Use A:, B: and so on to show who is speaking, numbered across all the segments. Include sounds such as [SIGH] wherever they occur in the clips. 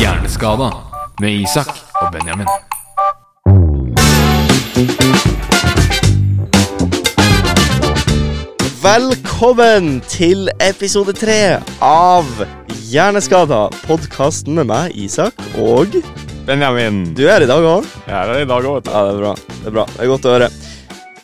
A: Hjerneskada med Isak og Benjamin.
B: Velkommen til episode tre av Hjerneskada. Podkasten med meg, Isak, og
C: Benjamin.
B: du er i dag òg.
C: Jeg er her i dag òg, vet
B: Ja, det er bra. Det er bra. Det er godt å høre.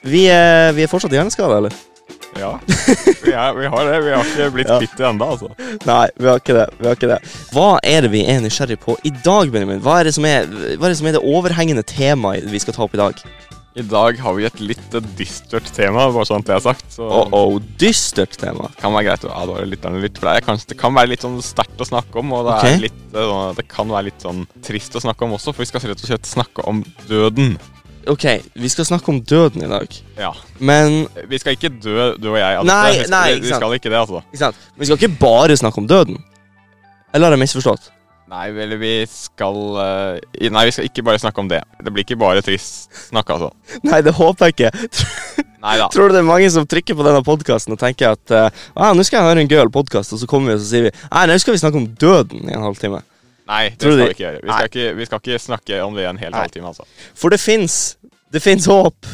B: Vi er, vi er fortsatt hjerneskada, eller?
C: du. Ja. Vi, er, vi har det. Vi har ikke blitt
B: Ja.
C: kvitt det ennå, altså.
B: Nei, vi har ikke det. vi har ikke det. Hva er det vi er nysgjerrig på i dag, Benjamin? Hva er det som er, hva er, det, som er det overhengende temaet vi skal ta opp i dag?
C: I dag har vi et litt dystert tema, bare sånn at det er sagt. Så
B: Oh, oh, dystert tema.
C: det kan være greit å advare lytterne litt. For det, er kanskje, det kan være litt sånn sterkt å snakke om, og det,
B: Ok.
C: er litt, eh, sånn- det kan være litt sånn trist å snakke om også, for vi skal rett og slett snakke om døden.
B: Ok, vi skal snakke om døden i dag.
C: Ja.
B: Men
C: Vi skal ikke dø, du og jeg. Adde.
B: Nei,
C: vi skal,
B: nei,
C: vi,
B: ikke
C: vi
B: sant.
C: skal ikke det, altså.
B: ikke sant? vi skal ikke bare snakke om døden. Eller har jeg misforstått?
C: Nei, vel, vi skal eh, i- Nei, vi skal ikke bare snakke om det. Det blir ikke bare trist snakk, altså.
B: Nei, det håper jeg ikke. Tr-
C: Nei da.
B: Tror du det er mange som trykker på denne podkasten og tenker at eh, ah, nå skal jeg høre en gøyal podkast, og så kommer vi og så sier vi nei, nå skal vi snakke om døden i en halvtime.
C: Nei, det
B: Tror du
C: skal
B: de-
C: vi ikke gjøre. Vi skal ikke, vi skal ikke snakke om det i en hel
B: Nei.
C: halvtime, altså.
B: For det fins. Det fins håp.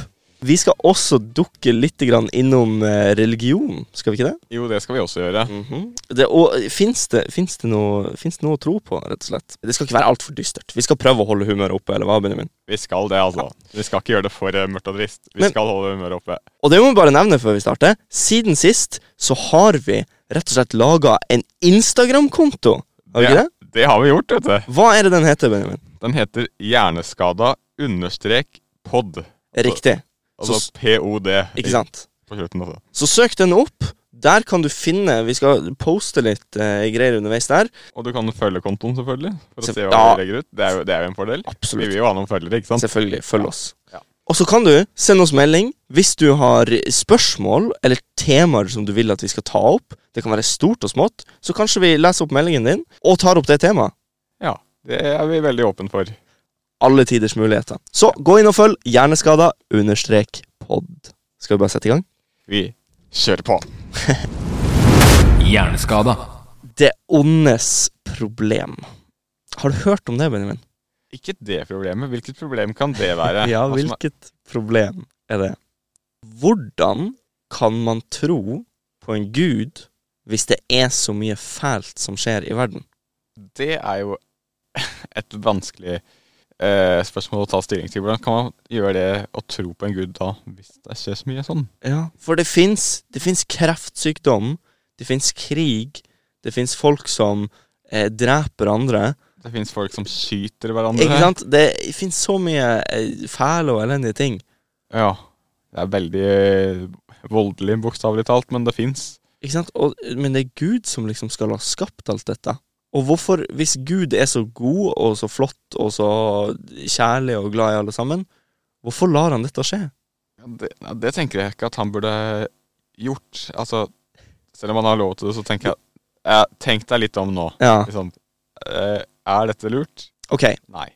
B: Vi skal også dukke litt grann innom eh, religion, skal vi ikke det?
C: Jo, det skal vi også gjøre.
B: det og Fins det, finnes det, noe- finnes det noe å tro på, rett og slett? Det skal ikke være altfor dystert. Vi skal prøve å holde humøret oppe, eller hva, Benjamin?
C: Vi skal det, altså. Vi skal ikke gjøre det for eh, mørkt og trist. Vi
B: Men-
C: skal holde humøret oppe.
B: Og det må vi bare nevne før vi starter. Siden sist så har vi rett og slett laga en Instagram-konto. Har vi ikke det?
C: det har vi gjort, vet du.
B: Hva er det den heter, Benjamin?
C: Den heter Hjerneskada understrek pod.
B: Riktig. Så s-
C: Altså POD
B: Ikke sant?
C: på slutten, altså.
B: Så søk den opp. Der kan du finne Vi skal poste litt eh, greier underveis der.
C: Og du kan følge kontoen, selvfølgelig. For å
B: Selv-
C: se hva
B: Ja.
C: vi legger ut. Det er, jo, det er jo en fordel. Vi
B: Absolutt.
C: vil jo ha noen følgere, ikke sant?
B: Selvfølgelig. Følg oss.
C: Ja.
B: Og så kan du sende oss melding hvis du har spørsmål eller temaer som du vil at vi skal ta opp. Det kan være stort og smått. Så kanskje vi leser opp meldingen din og tar opp det temaet.
C: Ja. Det er vi veldig åpne for.
B: Alle tiders muligheter. Så gå inn og følg Hjerneskada understrek pod. Skal vi bare sette i gang?
C: Vi kjører på.
A: Hjerneskada.
B: Det ondes problem. Har du hørt om det, Benjamin?
C: Ikke det problemet. Hvilket problem kan det
B: [LAUGHS]
C: være?
B: Ja,
C: Hva som er-
B: hvilket problem er det? Hvordan kan man tro på en gud hvis det er så mye fælt som skjer i verden?
C: Det er jo [LAUGHS] et vanskelig eh, spørsmål å ta stilling til. Hvordan kan man gjøre det å tro på en gud da, hvis det skjer så mye sånn?
B: Ja, for det fins det finnes kreftsykdom, det fins krig, det fins folk som eh, dreper andre.
C: Det fins folk som skyter hverandre.
B: Ikke sant? Det fins så mye eh, fæle og elendige ting.
C: Ja. Det er veldig eh, voldelig, bokstavelig talt, men det fins.
B: Ikke sant? Og, men det er Gud som liksom skal ha skapt alt dette. Og hvorfor, hvis Gud er så god og så flott og så kjærlig og glad i alle sammen, hvorfor lar han dette skje?
C: Ja, det, ja, det tenker jeg ikke at han burde gjort. Altså, selv om han har lov til det, så tenker jeg eh, Tenk deg litt om nå.
B: Ja,
C: Liksom, eh, er dette lurt?
B: ok,
C: Nei.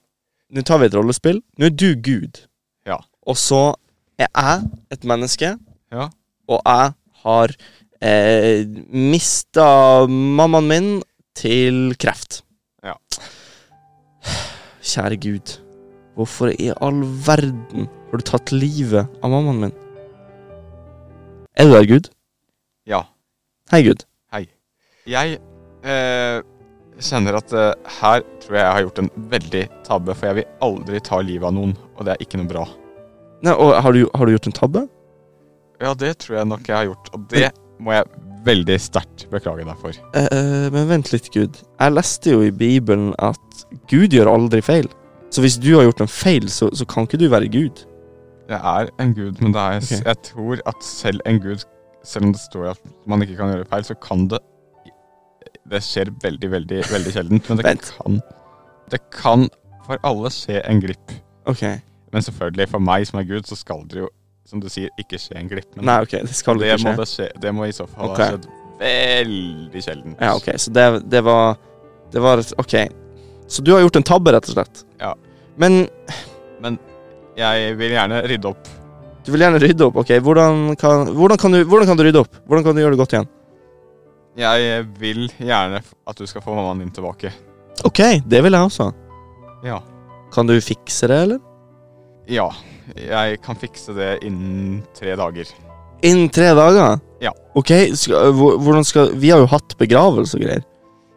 B: nå tar vi et rollespill. Nå er du Gud.
C: Ja.
B: Og så er jeg et menneske,
C: Ja.
B: og jeg har eh, mista mammaen min til kreft.
C: Ja.
B: Kjære Gud, hvorfor i all verden har du tatt livet av mammaen min? Er du der, Gud?
C: Ja.
B: Hei, Gud.
C: Jeg eh, kjenner at eh, her tror jeg jeg har gjort en veldig tabbe, for jeg vil aldri ta livet av noen, og det er ikke noe bra.
B: Nei, og har du, har du gjort en tabbe?
C: Ja, det tror jeg nok jeg har gjort, og det må jeg veldig sterkt beklage deg for.
B: Eh, eh, men vent litt, Gud. Jeg leste jo i Bibelen at Gud gjør aldri feil. Så hvis du har gjort en feil, så, så kan ikke du være Gud.
C: Jeg er en gud, men det er,
B: Ok.
C: jeg tror at selv en gud, selv om det står at man ikke kan gjøre feil, så kan det Det skjer veldig, veldig, veldig sjeldent, men det
B: Vent.
C: kan Det kan for alle skje en glipp.
B: Ok.
C: Men selvfølgelig, for meg som er gud, så skal det jo, som du sier, ikke skje en glipp. Men
B: Nei, ok, det skal
C: det
B: ikke skje.
C: Må det, skje, det må i så fall
B: Ok.
C: ha skjedd veldig sjeldent.
B: Ja, ok, så det, det var Det var et Ok. Så du har gjort en tabbe, rett og slett?
C: Ja.
B: Men
C: Jeg vil gjerne rydde opp.
B: du vil gjerne rydde opp. Ok, hvordan kan, hvordan kan, du, hvordan kan du rydde opp? Hvordan kan du gjøre det godt igjen?
C: Jeg vil gjerne f- at du skal få mammaen din tilbake.
B: Ok, det vil jeg også.
C: Ja.
B: Kan du fikse det, eller?
C: Ja. Jeg kan fikse det innen tre dager.
B: Innen tre dager?
C: Ja.
B: Ok, skal, hvor- hvordan skal Vi har jo hatt begravelse og greier.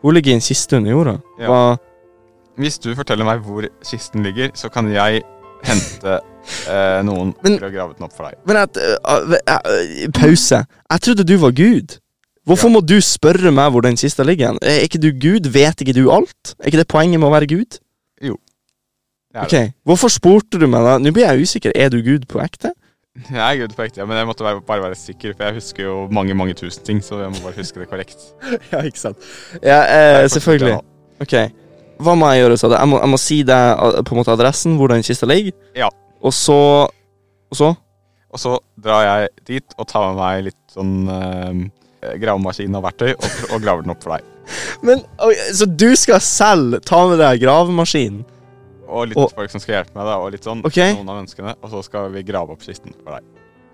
B: Hun ligger i en kiste under jorda.
C: Ja.
B: Hva
C: Hvis du forteller meg hvor kisten ligger, så kan jeg
B: [LAUGHS]
C: hente eh, noen
B: Men-
C: til å grave den opp for deg.
B: Men at, øh, øh, øh, pause. Jeg trodde du var Gud. Hvorfor må du spørre meg hvor den kista ligger? hen? Er ikke du Gud? Vet ikke du alt? Er ikke det poenget med å være Gud?
C: Jeg er,
B: Ok, Hvorfor spurte du meg da? Nå blir jeg usikker. Er du Gud på
C: [LAUGHS]
B: ekte?
C: det. jeg er good på ekte, men jeg måtte være, bare være sikker, for jeg husker jo mange mange tusen ting. Så jeg må bare huske det korrekt.
B: Ja, ikke sant. Ja,
C: Jeg
B: eh,
C: er fortsatt
B: selvfølgelig.
C: glad.
B: Ok, Hva må jeg gjøre? sa du? Jeg må, jeg må si deg eh, på en måte adressen, hvor den kista ligger.
C: Ja.
B: Og så Og så?
C: Og så drar jeg dit og tar med meg litt sånn eh, gravemaskin og verktøy og, og graver den opp for deg.
B: Men, oi, Så du skal selv ta med deg gravemaskinen?
C: Og litt
B: Og-
C: folk som skal hjelpe meg, da, og litt sånn.
B: Ok.
C: Noen av menneskene. Og så skal vi grave opp kisten for deg.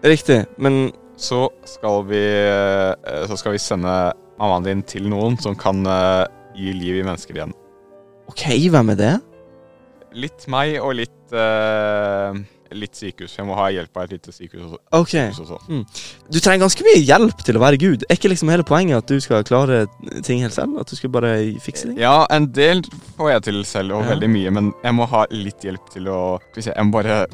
B: Riktig. Men
C: Så skal vi, eh, så skal vi sende mammaen din til noen som kan eh, gi liv i mennesker igjen.
B: OK, hvem er det?
C: Litt meg og litt eh, Litt sykehus. Jeg må ha hjelp av et lite sykehus også.
B: Ok. Hmm.
C: sykehus også.
B: Du trenger ganske mye hjelp til å være Gud. Er ikke liksom hele poenget at du skal klare ting helt selv? At du skal bare fikse ting?
C: Ja, en del får jeg til selv, og
B: Ja.
C: veldig mye, men jeg må ha litt hjelp til å Skal vi se, jeg må bare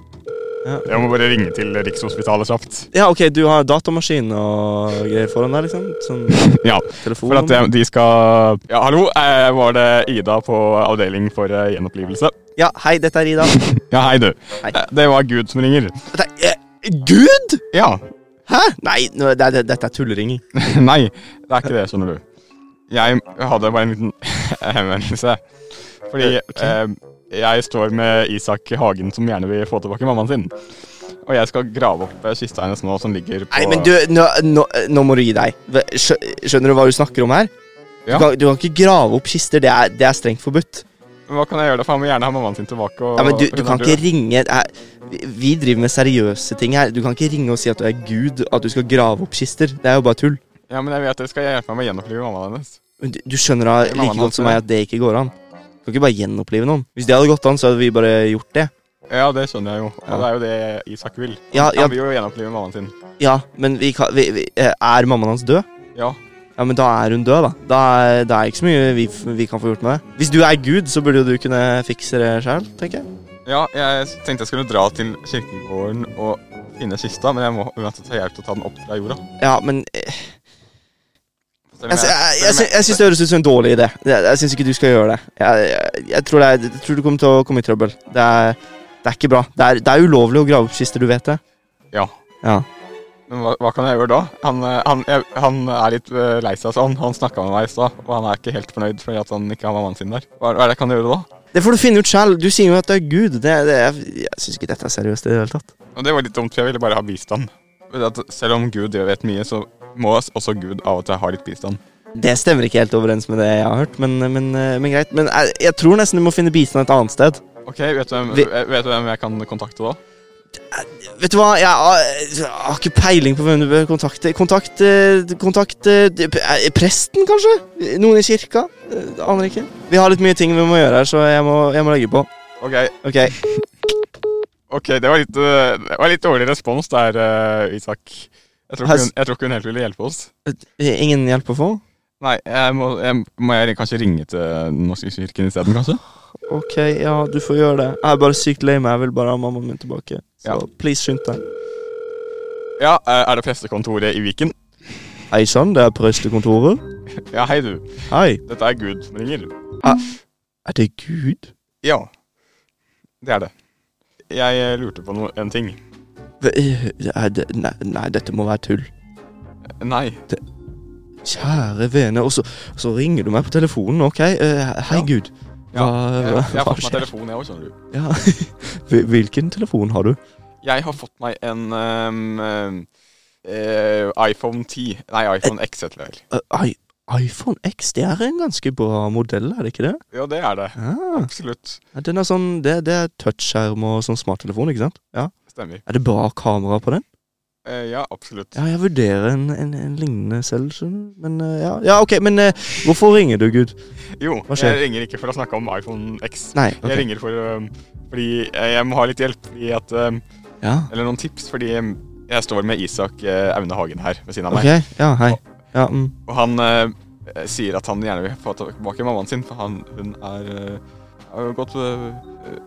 B: Ja.
C: Jeg må bare ringe til Rikshospitalet kjapt.
B: Ja, ok, du har datamaskin og greier foran deg, liksom? Sånn
C: Ja,
B: telefon?
C: [LAUGHS] for at eh, de skal Ja, hallo, eh, var det Ida på avdeling for eh, gjenopplivelse?
B: Ja, hei, dette er Ida.
C: Ja, hei, du.
B: Hei.
C: Eh, Det var Gud som ringer.
B: Dette er, eh, Gud?!
C: Ja.
B: Hæ? Nei, nå, det, det, dette er tulleringing.
C: [LAUGHS] Nei, det er ikke det, skjønner du. Jeg hadde bare en liten [LAUGHS] henvendelse. Fordi eh, jeg står med Isak Hagen, som gjerne vil få tilbake mammaen sin. Og jeg skal grave opp eh, kista hennes nå, som ligger på
B: Nei, men du, nå, nå, nå må du gi deg. Ve- skjø- Skjønner du hva du snakker om her? Du,
C: Ja.
B: kan, du kan ikke grave opp kister. Det er, det er strengt forbudt.
C: Hva kan jeg gjøre da? For han må gjerne ha mammaen sin tilbake. Og,
B: Ja, men du,
C: for
B: du
C: hun
B: kan
C: er
B: ikke
C: død.
B: ringe jeg- vi- Vi driver med seriøse ting her. Du kan ikke ringe og si at du er Gud, at du skal grave opp kister. Det er jo bare tull.
C: Ja, men jeg vet det. Skal jeg hjelpe meg med å gjenopplive mammaen hennes?
B: Men Du, du skjønner da
C: Mamma
B: like godt som
C: hater
B: meg at det ikke går an. Du kan ikke bare gjenopplive noen. Hvis det hadde gått an, så hadde vi bare gjort det.
C: Ja, det skjønner jeg jo. Og
B: Ja.
C: det er jo det Isak vil.
B: Ja, ja,
C: Han vil jo gjenopplive mammaen sin.
B: ja men vi kan vi, vi, eh, Er mammaen hans død?
C: Ja.
B: Ja, men da er hun død, da. Da er det er ikke så mye vi, f- vi kan få gjort med det. Hvis du er Gud, så burde jo du kunne fikse det sjøl, tenker jeg.
C: ja, jeg tenkte jeg skulle dra til kirkegården og finne kista, men jeg må uansett ha hjelp til å ta den opp fra jorda.
B: Ja, men eh, altså,
C: Selv om
B: Jeg, sy- jeg, jeg,
C: selv om
B: sy- jeg syns det høres ut som en dårlig idé. Jeg, jeg syns ikke du skal gjøre det. Jeg, jeg, jeg, tror, det er, jeg tror du kommer til å komme i trøbbel. Det er, det er ikke bra. Det er, det er ulovlig å grave opp kister, du vet det.
C: Ja.
B: Ja.
C: Men hva, hva kan jeg gjøre da? Han, eh, han, jeg, han er litt eh, lei seg sånn. Han snakka med meg i stad, og han er ikke helt fornøyd fordi at han ikke har mammaen sin der. Hva, hva er det jeg kan gjøre da?
B: Det får du finne ut sjøl. Du sier jo at det er Gud. Det, det, jeg jeg syns ikke dette er seriøst i det hele tatt.
C: Og det var litt dumt, for jeg ville bare ha bistand. Fordi at selv om Gud vet mye, så må også Gud av og til ha litt bistand.
B: Det stemmer ikke helt overens med det jeg har hørt, men, men, eh, men greit. Men jeg, jeg tror nesten du må finne bistand et annet sted.
C: Ok, Vet du hvem,
B: Vi-
C: vet du hvem jeg kan kontakte da?
B: Vet du hva, jeg har, jeg har ikke peiling på hvem du bør kontakte. Kontakt, eh, kontakt eh, eh, Presten, kanskje? Noen i kirka? Eh, Aner ikke. Vi har litt mye ting vi må gjøre her, så jeg må, jeg må legge på.
C: Ok,
B: Ok,
C: ok, det var litt, eh, det var litt dårlig respons der, eh, Isak. Jeg tror,
B: Her s-
C: ikke hun, jeg tror ikke hun helt ville hjelpe oss.
B: Eh, Ingen hjelp å få?
C: Nei, jeg må jeg, må jeg kanskje ringe til Den norske kirken isteden, kanskje?
B: Ok, ja, du får gjøre det. Jeg er bare sykt lei meg. Jeg vil bare ha mammaen min tilbake. Så
C: Ja.
B: please, skynd deg.
C: Ja, eh, er det prestekontoret i Viken?
B: Hei sann, det er prestekontoret.
C: Ja, hei du.
B: Hei.
C: Dette er Gud som ringer.
B: Er det Gud?
C: Ja, det er det. Jeg eh, lurte på no en ting.
B: Hva- eh, er det, nei, nei, dette må være tull.
C: Nei.
B: Kjære vene. Og så, så ringer du meg på telefonen, OK? Eh, hei,
C: Ja.
B: Gud. [LAUGHS]
C: Ja,
B: Hva,
C: Jeg,
B: hva,
C: jeg har
B: hva
C: fått meg
B: skjer?
C: telefon, jeg òg, skjønner du.
B: Ja. [LAUGHS] Hvil- Hvilken telefon har du?
C: Jeg har fått meg en ehm, ehm, eh, iPhone 10. Nei, iPhone X heter det vel.
B: Eh, i iPhone X, det er en ganske bra modell, er det ikke det?
C: Ja, det er det.
B: Ah,
C: Absolutt.
B: den er sånn, det, det er touchskjerm og sånn smarttelefon, ikke sant? Ja.
C: Stemmer.
B: Er det bra kamera på den?
C: Eh, ja, absolutt.
B: Ja, jeg vurderer en, en, en lignende selv, skjønner du. Men eh, ja, ja ok, men eh, hvorfor ringer du, Gud?
C: Jo,
B: Hva skjer?
C: jeg ringer ikke for å snakke om iPhone X.
B: Nei, ok.
C: Jeg ringer for um, fordi eh, jeg må ha litt hjelp, fordi at um,
B: Ja,
C: Eller noen tips, fordi um, jeg står med Isak eh, Aune Hagen her ved siden av
B: ok.
C: meg.
B: Ja, hei. Ja, mm.
C: Og han eh, sier at han gjerne vil få tilbake mammaen sin, for han, hun er eh, har jo gått eh,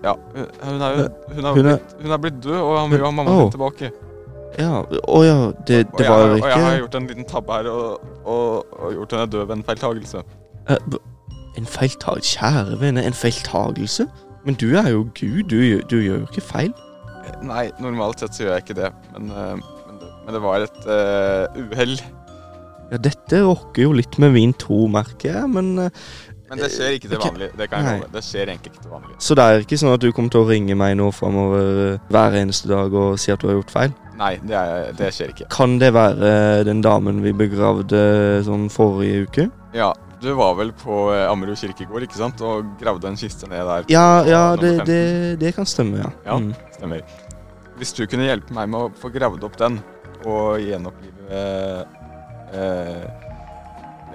C: Ja, hun er, jo- hun
B: Hun
C: er,
B: er-
C: blitt, hun er blitt død, og han vil jo ha mammaen
B: Åh.
C: sin tilbake.
B: Ja, å ja, det,
C: Og
B: det
C: jeg,
B: var
C: har-
B: jo
C: og jeg har
B: ikke
C: gjort en liten tabbe her og, og, og gjort henne død ved en feiltagelse.
B: Eh, b- En feiltag... Kjære vene, en feiltagelse? Men du er jo Gud, du, gjør- du gjør jo ikke feil.
C: Nei, normalt sett så gjør jeg ikke det, men, eh, men, det- men det var et uh, uhell.
B: Ja, dette rokker jo litt med min tro, merker jeg, men eh,
C: Men det skjer Eh, ikke til
B: Ok.
C: vanlig. Det kan jeg
B: Nei.
C: love. Det skjer egentlig ikke til vanlig.
B: Så det er ikke sånn at du kommer til å ringe meg nå framover hver eneste dag og si at du har gjort feil?
C: Nei, det, er, det skjer ikke.
B: Kan det være eh, den damen vi begravde sånn forrige uke?
C: Ja, du var vel på eh, Ammerud kirkegård, ikke sant? Og gravde en kiste ned der.
B: Ja,
C: på
B: ja,
C: nummer
B: det,
C: 15.
B: det, det kan stemme, ja.
C: Ja.
B: Mm.
C: Stemmer. Hvis du kunne hjelpe meg med å få gravd opp den, og gjenopplive eh, eh,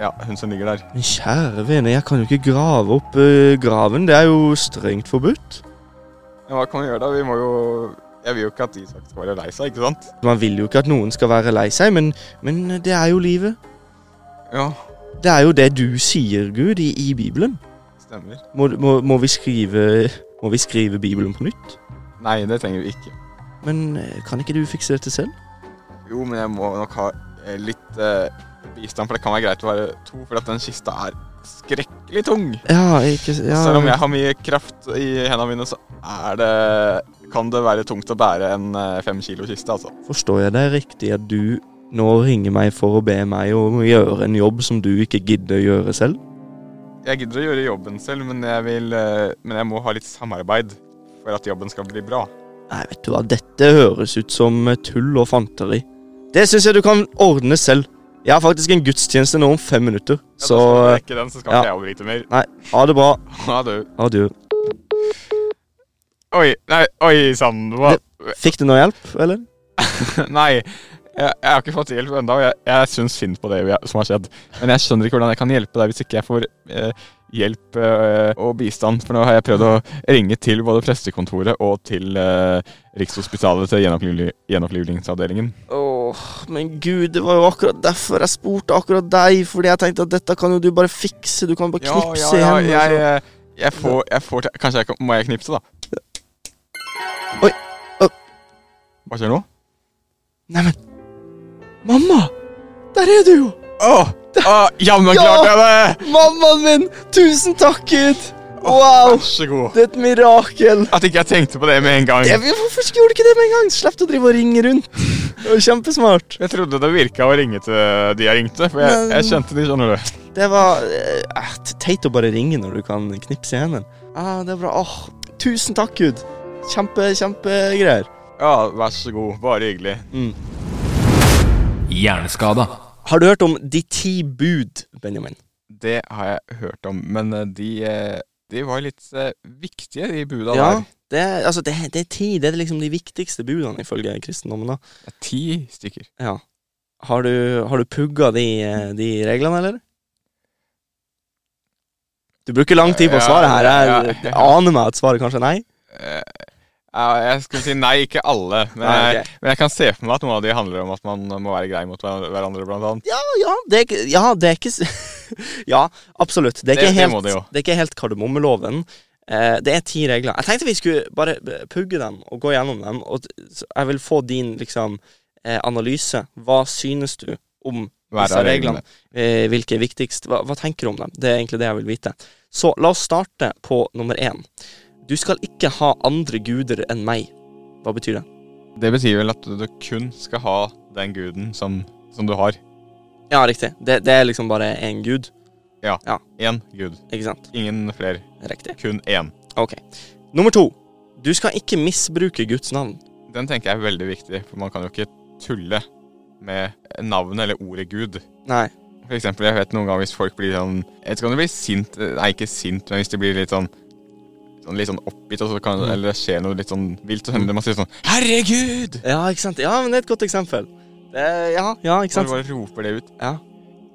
C: Ja, hun som ligger der.
B: Men kjære vene, jeg kan jo ikke grave opp eh, graven. Det er jo strengt forbudt.
C: Men hva kan vi gjøre da? Vi må jo Jeg vil jo ikke at Isak skal være lei seg, ikke sant?
B: Man vil jo ikke at noen skal være lei seg, men, men eh, det er jo livet.
C: Ja,
B: Det er jo det du sier, Gud, i, i Bibelen.
C: stemmer.
B: Må, må, må, vi skrive, må vi skrive Bibelen på nytt?
C: Nei, det trenger vi ikke.
B: Men eh, kan ikke du fikse dette selv?
C: Jo, men jeg må nok ha eh, litt eh, bistand, for det kan være greit å være to, for at den kista er skrekkelig tung.
B: Ja, ikke ja.
C: Selv om jeg har mye kraft i hendene mine, så er det Kan det være tungt å bære en eh, fem kilo kiste, altså.
B: Forstår jeg deg riktig at du nå ringer meg for å be meg om å gjøre en jobb som du ikke gidder å gjøre selv?
C: Jeg gidder å gjøre jobben selv, men jeg, vil, eh, men jeg må ha litt samarbeid for at jobben skal bli bra.
B: Nei, vet du hva, dette høres ut som eh, tull og fanteri. Det syns jeg du kan ordne selv. Jeg har faktisk en gudstjeneste nå om fem minutter,
C: Ja,
B: så
C: da skal vi rekke den, så skal
B: ja.
C: ikke jeg overbryte mer.
B: Nei, ha det bra.
C: Ha det.
B: Adjø.
C: Oi, nei, oi sann. Hva?
B: Fikk du noe hjelp, eller?
C: [LAUGHS] Nei. Jeg, jeg har ikke fått hjelp ennå, og jeg, jeg syns synd på det jeg- som har skjedd. Men jeg skjønner ikke hvordan jeg kan hjelpe deg hvis ikke jeg får eh, hjelp eh, og bistand. For nå har jeg prøvd å ringe til både prestekontoret og til eh, Rikshospitalet til gjenopplivli- gjenopplivningsavdelingen.
B: Åh, men gud, det var jo akkurat derfor jeg spurte akkurat deg. Fordi jeg tenkte at dette kan jo du bare fikse. Du kan bare knipse igjen. altså.
C: jeg, jeg, jeg får, jeg får til- Kanskje jeg kan, må jeg knipse, da?
B: Oi, å.
C: Hva skjer nå?
B: Neimen Mamma! Der er du jo!
C: Åh! Åh, Jammen
B: Ja!
C: klarte jeg det!
B: Mammaen min! Tusen takk, Gud!
C: Vær
B: Wow!
C: så god.
B: Det er et mirakel!
C: At ikke jeg tenkte på det med en gang.
B: Jeg,
C: Jeg,
B: vet- hvorfor gjorde du ikke det med en gang? Slipp å drive og ringe rundt. Det var kjempesmart.
C: trodde det virka å ringe til de jeg ringte, for jeg,
B: Men-
C: jeg kjente de, skjønner du.
B: Det var eh, eh, teit å bare ringe når du kan knipse i hendene. Ah, det er bra. Åh, tusen takk, Gud. Kjempe, kjempegreier.
C: Ja, vær så god. Bare hyggelig.
B: Mm.
A: Hjerneskada.
B: Har du hørt om De ti bud, Benjamin?
C: Det har jeg hørt om, men eh, de, eh, de var litt eh, viktige, de buda der.
B: Det er, altså, det, det er ti. Det er liksom de viktigste budene ifølge kristendommen. da.
C: Det er Ti stykker.
B: Ja. Har du, har du pugga de, eh, de reglene, eller? Du bruker lang tid på å
C: Ja,
B: svare her. Jeg
C: ja,
B: jeg
C: ja.
B: aner meg at svaret kanskje er nei.
C: Eh, ja, jeg skulle si nei, ikke alle. Men,
B: Nei,
C: jeg,
B: ok.
C: men jeg kan se for meg at noen av de handler om at man må være grei mot hver- hverandre, blant annet.
B: Ja, ja, det er, ikke- ja, det er ikke s- [LAUGHS] Ja, absolutt. Det er
C: Det-
B: ikke
C: det må
B: helt,
C: det jo.
B: det er ikke helt kardemommeloven. Eh, det er ti regler. Jeg tenkte vi skulle bare b- pugge dem og gå gjennom dem. Og t- så jeg vil få din liksom, eh, analyse. Hva synes du om
C: Hver
B: disse
C: av
B: reglene? Eh, hvilke er viktigst? Hva, hva tenker du om dem? Det er egentlig det jeg vil vite. Så la oss starte på nummer én. Du skal ikke ha andre guder enn meg. Hva betyr det?
C: Det betyr vel at du kun skal ha den guden som, som du har.
B: Ja, riktig. Det, det er liksom bare én gud,
C: Én gud.
B: ikke sant?
C: Ingen flere.
B: Riktig.
C: Kun én.
B: Ok. Nummer to. Du skal ikke misbruke Guds navn.
C: Den tenker jeg er veldig viktig, for man kan jo ikke tulle med navnet eller ordet gud.
B: Nei.
C: For eksempel, jeg vet noen ganger hvis folk blir sånn Jeg vet ikke om de blir sint Nei, ikke sint, men hvis de blir litt sånn sånn, litt sånn oppgitt, og så kan,
B: Mm.
C: eller det skjer noe litt sånn vilt, og så hender det man sier sånn Herregud!
B: Ja, ikke sant? Ja, men det er et godt eksempel. Eh, ja, ja, ikke
C: Man
B: sant?
C: bare roper det ut.
B: Ja.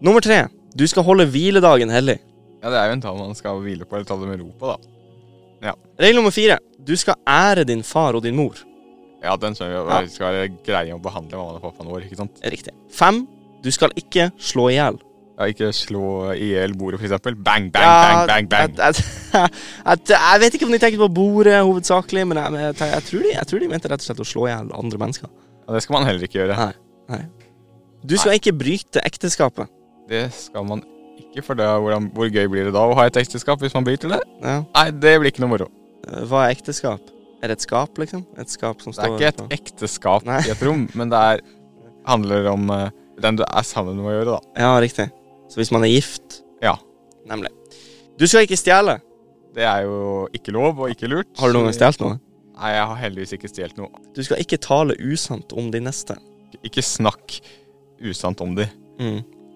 B: Nummer tre. Du skal holde hviledagen hellig.
C: Ja, det er jo en tall man skal hvile på, eller ta det med ro på, da.
B: Regel nummer fire. Du skal ære din far og din mor.
C: Ja, den skjønner vi. og
B: Ja.
C: Vi skal greie å behandle mammaen og pappaen vår, ikke sant?
B: Riktig. Fem. Du skal ikke slå i hjel.
C: Ja, ikke slå i hjel bordet, for eksempel. Bang, bang, bang, bang, bang.
B: At, at, [LAUGHS] at, jeg vet ikke om de tenker på bordet hovedsakelig, men jeg, men jeg, tenker- jeg, tror, de, jeg tror de mente rett og slett å slå i hjel andre mennesker.
C: Ja, det skal man heller ikke gjøre.
B: Nei. Du skal ikke bryte ekteskapet.
C: Det skal man ikke, for da, hvordan, hvor gøy blir det da å ha et ekteskap hvis man bryter det?
B: Ja.
C: Nei, det blir ikke noe moro.
B: Hva er ekteskap? Er det et skap, liksom? Et skap som
C: Det er
B: står
C: ikke
B: på-
C: et ekteskap
B: Nei.
C: i et rom, men det er, handler om eh, den du er sammen med å gjøre, da.
B: Ja, riktig. Så hvis man er gift
C: Ja.
B: Nemlig. Du skal ikke stjele.
C: Det er jo ikke lov og ikke lurt.
B: Har du noen gang stjålet noe?
C: Nei, jeg har heldigvis ikke stjålet noe.
B: Du skal ikke tale usant om de neste.
C: Ikke snakk usant om de.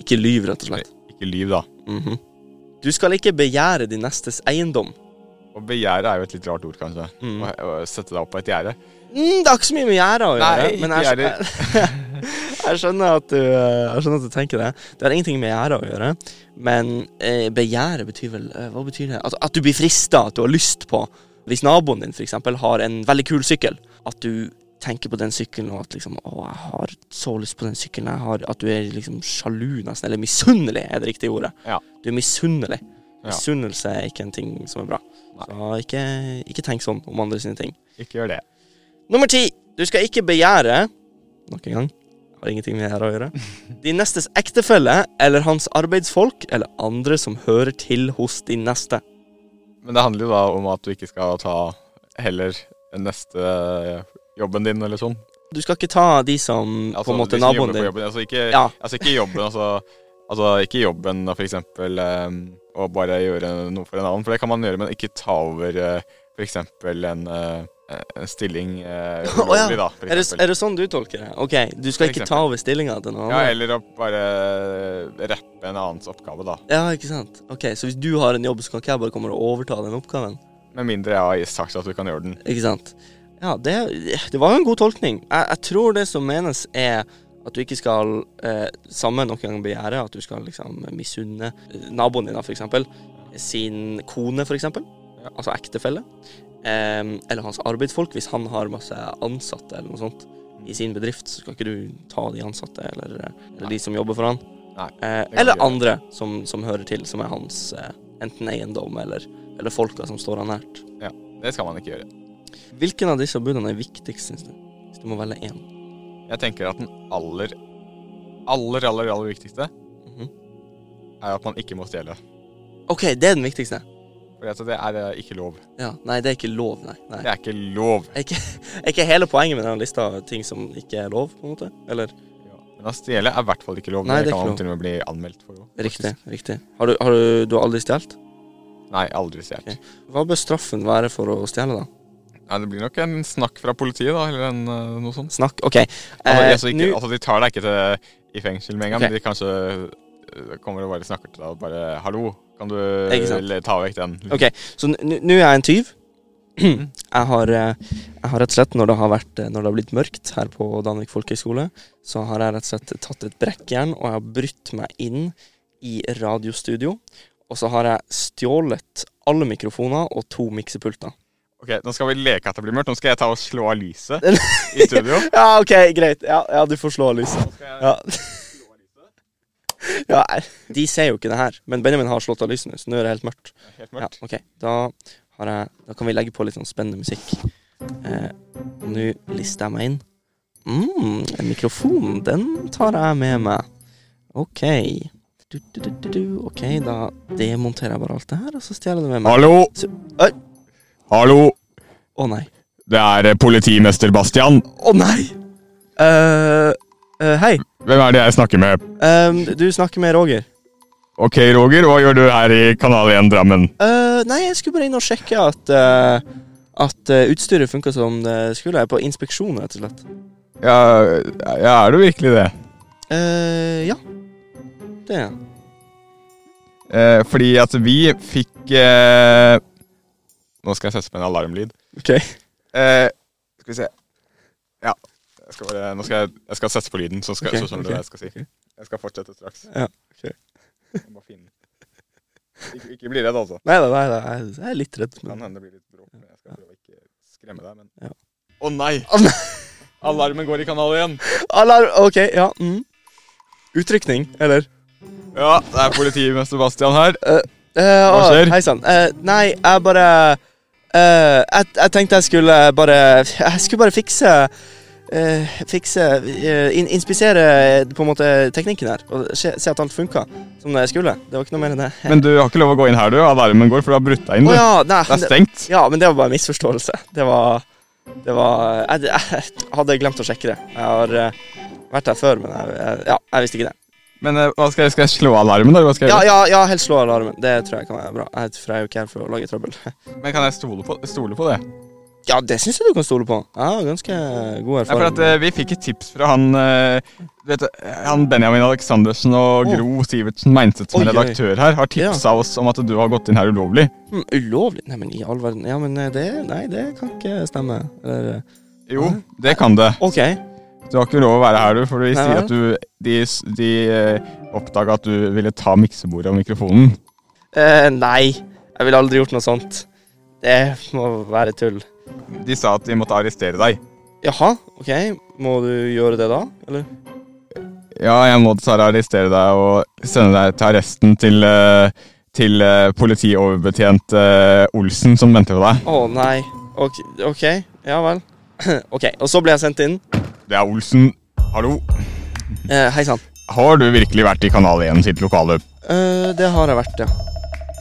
B: Ikke lyv, rett og slett.
C: Ikke lyv, da.
B: Mhm. Du skal ikke begjære de nestes eiendom.
C: Og begjære er jo et litt rart ord, kanskje.
B: Mm.
C: Å, å sette deg opp på et gjerde.
B: Mm, det har ikke så mye med gjerdet å gjøre,
C: Nei,
B: men
C: ikke
B: jeg, [LAUGHS] jeg skjønner at du, eh, jeg skjønner at du tenker det. Det har ingenting med gjerdet å gjøre, men eh, begjæret betyr vel eh, Hva betyr det? At, at du blir frista, at du har lyst på Hvis naboen din f.eks. har en veldig kul sykkel, at du tenker på den sykkelen og at liksom Å, jeg har så lyst på den sykkelen. Jeg har, at du er liksom sjalu, nesten. Eller misunnelig, er det riktige ordet.
C: Ja.
B: Du er misunnelig.
C: Ja.
B: Misunnelse er ikke en ting som er bra.
C: Nei.
B: Så ikke, ikke tenk sånn om andre sine ting.
C: Ikke gjør det.
B: Nummer ti. Du skal ikke begjære Nok en gang. Har ingenting med det her å
C: [LAUGHS]
B: gjøre. De nestes ektefelle eller hans arbeidsfolk eller andre som hører til hos de neste.
C: Men det handler jo da om at du ikke skal ta heller neste eh, jobben din, eller sånn.
B: Du skal ikke ta de som på en måte
C: de som
B: naboen
C: Altså, jobber på
B: din.
C: Jobben, altså, ikke,
B: Ja.
C: altså ikke jobben, altså, altså ikke jobben da, for eksempel ehm, å bare gjøre noe for en annen, for det kan man gjøre, men ikke ta over eh, for eksempel en, eh, en stilling eh,
B: [LAUGHS] Å,
C: ulovlig
B: ja.
C: da, for
B: Er det,
C: eksempel.
B: er det sånn du tolker det? Ok, du
C: For
B: skal ikke ta over stillinga til noen
C: Ja,
B: andre?
C: eller å bare rappe en annens oppgave da,
B: Ja, ikke sant? Ok, Så hvis du har en jobb, så kan ikke jeg bare komme og overta den oppgaven?
C: med mindre jeg har sagt at du kan gjøre den.
B: Ikke sant? Ja, det, det var jo en god tolkning. Jeg, jeg tror det som menes er at du ikke skal eh, samme noen gang begjære, at du skal liksom misunne eh, naboen din, da, for eksempel, sin kone, for eksempel,
C: Ja.
B: altså ektefelle, eh, eller hans arbeidsfolk, hvis han har masse ansatte eller noe sånt i sin bedrift, så skal ikke du ta de ansatte eller, eh, eller de som jobber for han.
C: Nei,
B: eh,
C: kan
B: eller
C: vi gjøre.
B: andre som, som hører til, som er hans eh, enten eiendom eller, eller folka som står han nært.
C: Det skal man ikke gjøre.
B: Hvilken av disse budene er viktigst, syns du? Hvis du må velge én.
C: Jeg tenker at den aller, aller, aller, aller viktigste
B: Mhm.
C: er at man ikke må stjele.
B: OK, det er den viktigste.
C: For altså, det er eh, ikke lov.
B: Ja, Nei, det er ikke lov, nei. nei.
C: Det er ikke lov.
B: Er ikke, er ikke hele poenget med denne lista ting som ikke er lov, på en måte? Eller?
C: Men å stjele er i hvert fall ikke lov.
B: Nei,
C: det,
B: det er
C: kan
B: ikke
C: man
B: lov.
C: til og med bli anmeldt for. også,
B: Riktig.
C: faktisk.
B: riktig. Har du, har du, du har aldri stjålet?
C: Nei, aldri stjålet.
B: Hva bør straffen være for å stjele, da?
C: Nei, Det blir nok en snakk fra politiet, da, eller en, eh, noe sånt.
B: Snakk. OK.
C: Altså,
B: Eh,
C: altså, ikke,
B: nå-
C: altså, De tar deg ikke til i fengsel med en gang,
B: Ok.
C: men de kanskje eh, kommer og bare snakker til deg og bare 'Hallo, kan du
B: Ikke sant.
C: le- ta vekk den?'
B: Ok, så n- n- nå er jeg en tyv. [CLEARS THROAT] Jeg har, eh, jeg har rett og slett, når det har, vært, eh, når det har blitt mørkt her på Danvik folkehøgskole, så har jeg rett og slett tatt et brekkjern og jeg har brutt meg inn i radiostudio. Og så har jeg stjålet alle mikrofoner og to miksepulter.
C: Ok, Nå skal vi leke at det blir mørkt. Nå skal jeg ta og slå av
B: [LAUGHS]
C: lyset i studio.
B: Ja, ok, greit. Ja, ja du får slå av lyset. Ja. [LAUGHS] ja, de ser jo ikke det her, men Benjamin har slått av lyset nå, så nå er det helt mørkt.
C: Helt
B: Ja,
C: mørkt.
B: ok. Da, har jeg, da kan vi legge på litt sånn spennende musikk. Eh, og Nå lister jeg meg inn. Mm, en mikrofon, den tar jeg med meg. Ok. Du, du, du, du, du. Ok, da demonterer jeg bare alt det her, og så stjeler jeg det med meg.
C: Hallo!
B: Så- Oi.
C: Hallo!
B: Å nei.
C: Det er eh, politimester Bastian.
B: Å nei! eh eh, hei.
C: Hvem er det jeg snakker med?
B: Em, du snakker med Roger.
C: Ok, Roger, hva gjør du her i Kanal 1 Drammen?
B: Eh, nei, jeg skulle bare inn og sjekke at, eh, at eh, utstyret funka som det skulle. Jeg er på inspeksjon, rett og slett.
C: Ja, ja, er du virkelig det?
B: eh ja. Det er jeg.
C: Eh, fordi at vi fikk eh, Nå Nå skal jeg sette på en alarmlyd.
B: Ok.
C: Eh, skal vi se. Ja. Jeg skal bare, nå skal jeg, jeg skal sette på lyden, så, skal,
B: Ok,
C: så skjønner du
B: ok.
C: hva jeg skal si. Jeg skal fortsette straks.
B: Ja, ok.
C: Jeg må bare finne. Ikke, ikke bli redd, altså.
B: Nei da, nei da, jeg- jeg er litt redd.
C: Kan
B: Men...
C: hende det blir litt bråk, men jeg skal prøve å ikke skremme deg. Men...
B: Ja.
C: Å nei!
B: [LAUGHS] Å
C: Alarmen går i kanal igjen.
B: Alarm! Ok, ja. Mm. Utrykning, eller?
C: Ja, det er politimester Bastian her.
B: Eh,
C: Hva
B: å,
C: skjer?
B: Hei sann. Eh, nei, jeg bare eh, jeg, jeg tenkte jeg skulle bare Jeg skulle bare fikse eh, Fikse eh, in, Inspisere eh, på en måte teknikken her. Og se, se at alt funka som det skulle. Det var ikke noe mer enn det. Å
C: Men du har ikke lov å gå inn her, du. Alarmen går, for du har brutt deg inn. du.
B: ja, nei,
C: Det er
B: det,
C: stengt.
B: [LAUGHS] ja, men det var bare en misforståelse. Det var Det var Jeg, jeg hadde glemt å sjekke det. Jeg har eh, vært her før, men jeg, jeg, ja, jeg visste ikke det.
C: Men eh, hva skal, jeg, skal jeg slå alarmen, da? eller Hva skal jeg
B: Ja,
C: gjøre?
B: ja, ja helst slå alarmen. Det tror jeg kan være bra. Jeg, for jeg er jo ikke her for å lage trøbbel. [LAUGHS]
C: Men kan jeg stole på, stole på det?
B: Ja, det syns jeg du kan stole på. Jeg har ganske god
C: Nei, for
B: erfaring.
C: at eh, Vi fikk et tips fra han eh, du vet, eh, Han Benjamin Aleksandersen og
B: Å.
C: Gro Sivertsen Meinseth, som
B: Oi,
C: er
B: oi.
C: redaktør her, har tipsa oss om at du har gått inn her ulovlig.
B: Mm, Ulovlig? Nei, men i all verden. Ja, men eh, det Nei, det kan ikke stemme. Eller eh,
C: Jo, det kan det.
B: OK.
C: Du har ikke lov å være her, du. For de
B: Nei,
C: sier at du De, s- de oppdaga at du ville ta miksebordet og mikrofonen.
B: Eh, nei. Jeg ville aldri gjort noe sånt. Det må være tull.
C: De sa at de måtte arrestere deg.
B: Jaha, OK. Må du gjøre det da, eller?
C: Ja, jeg må dessverre arrestere deg og sende deg til arresten til, eh, til eh, politioverbetjent eh, Olsen, som venter på deg.
B: Å, nei. Ok, ok. Ja vel. [CLEARS THROAT] OK. Og så ble jeg sendt inn.
C: Det er Olsen. Hallo.
B: Eh, Hei sann.
C: Har du virkelig vært i Kanal 1 sitt lokale?
B: Eh, det har jeg vært, ja.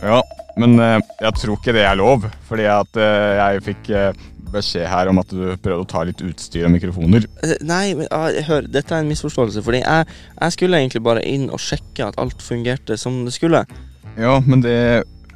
C: Ja, men eh, jeg tror ikke det er lov, fordi at eh, jeg fikk eh, beskjed her om at du prøvde å ta litt utstyr og mikrofoner.
B: Eh, Nei, men ah, hør, dette er en misforståelse. Fordi jeg, jeg skulle egentlig bare inn og sjekke at alt fungerte som det skulle.
C: Ja, men det